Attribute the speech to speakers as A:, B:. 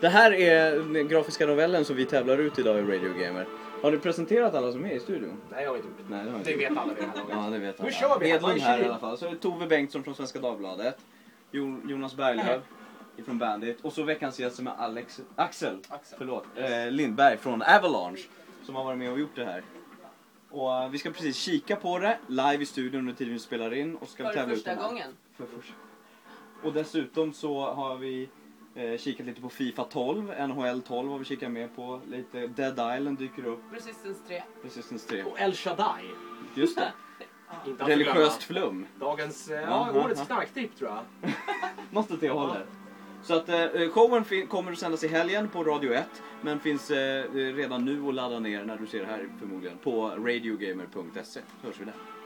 A: Det här är den grafiska novellen som vi tävlar ut idag i Radio Gamer. Har ni presenterat alla som är i studion?
B: Nej, jag har inte gjort det.
A: Nej, det har jag
B: Det
A: inte.
B: vet alla vid det här laget.
A: Ja, det vet
B: Nu
A: alla.
B: kör vi!
A: Hedlund
B: Man
A: här i
B: kör.
A: alla fall. Så är det Tove Bengtsson från Svenska Dagbladet. Jo- Jonas Berglöf från Bandit. Och så veckans gäst som är Alex, Axel,
B: Axel.
A: Förlåt, eh, Lindberg från Avalanche. Som har varit med och gjort det här. Och eh, vi ska precis kika på det live i studion under tiden vi spelar in. Och så ska vi
C: Var det
A: tävla ut
C: första
A: de här.
C: gången?
A: För först. Och dessutom så har vi eh, kikat lite på Fifa 12, NHL 12 har vi kikat med på. Lite Dead Island dyker upp,
C: Resistance 3.
A: Resistance 3.
B: Och El Shaddai.
A: Just det,
B: Inte att
A: religiöst
B: glömma.
A: flum.
B: Dagens, eh,
A: Aha,
B: ja, årets
A: aha.
B: knarktipp tror jag.
A: Något åt det hållet. Så att eh, showen fin- kommer att sändas i helgen på Radio 1 men finns eh, redan nu att ladda ner när du ser det här förmodligen på radiogamer.se. Så hörs vi där.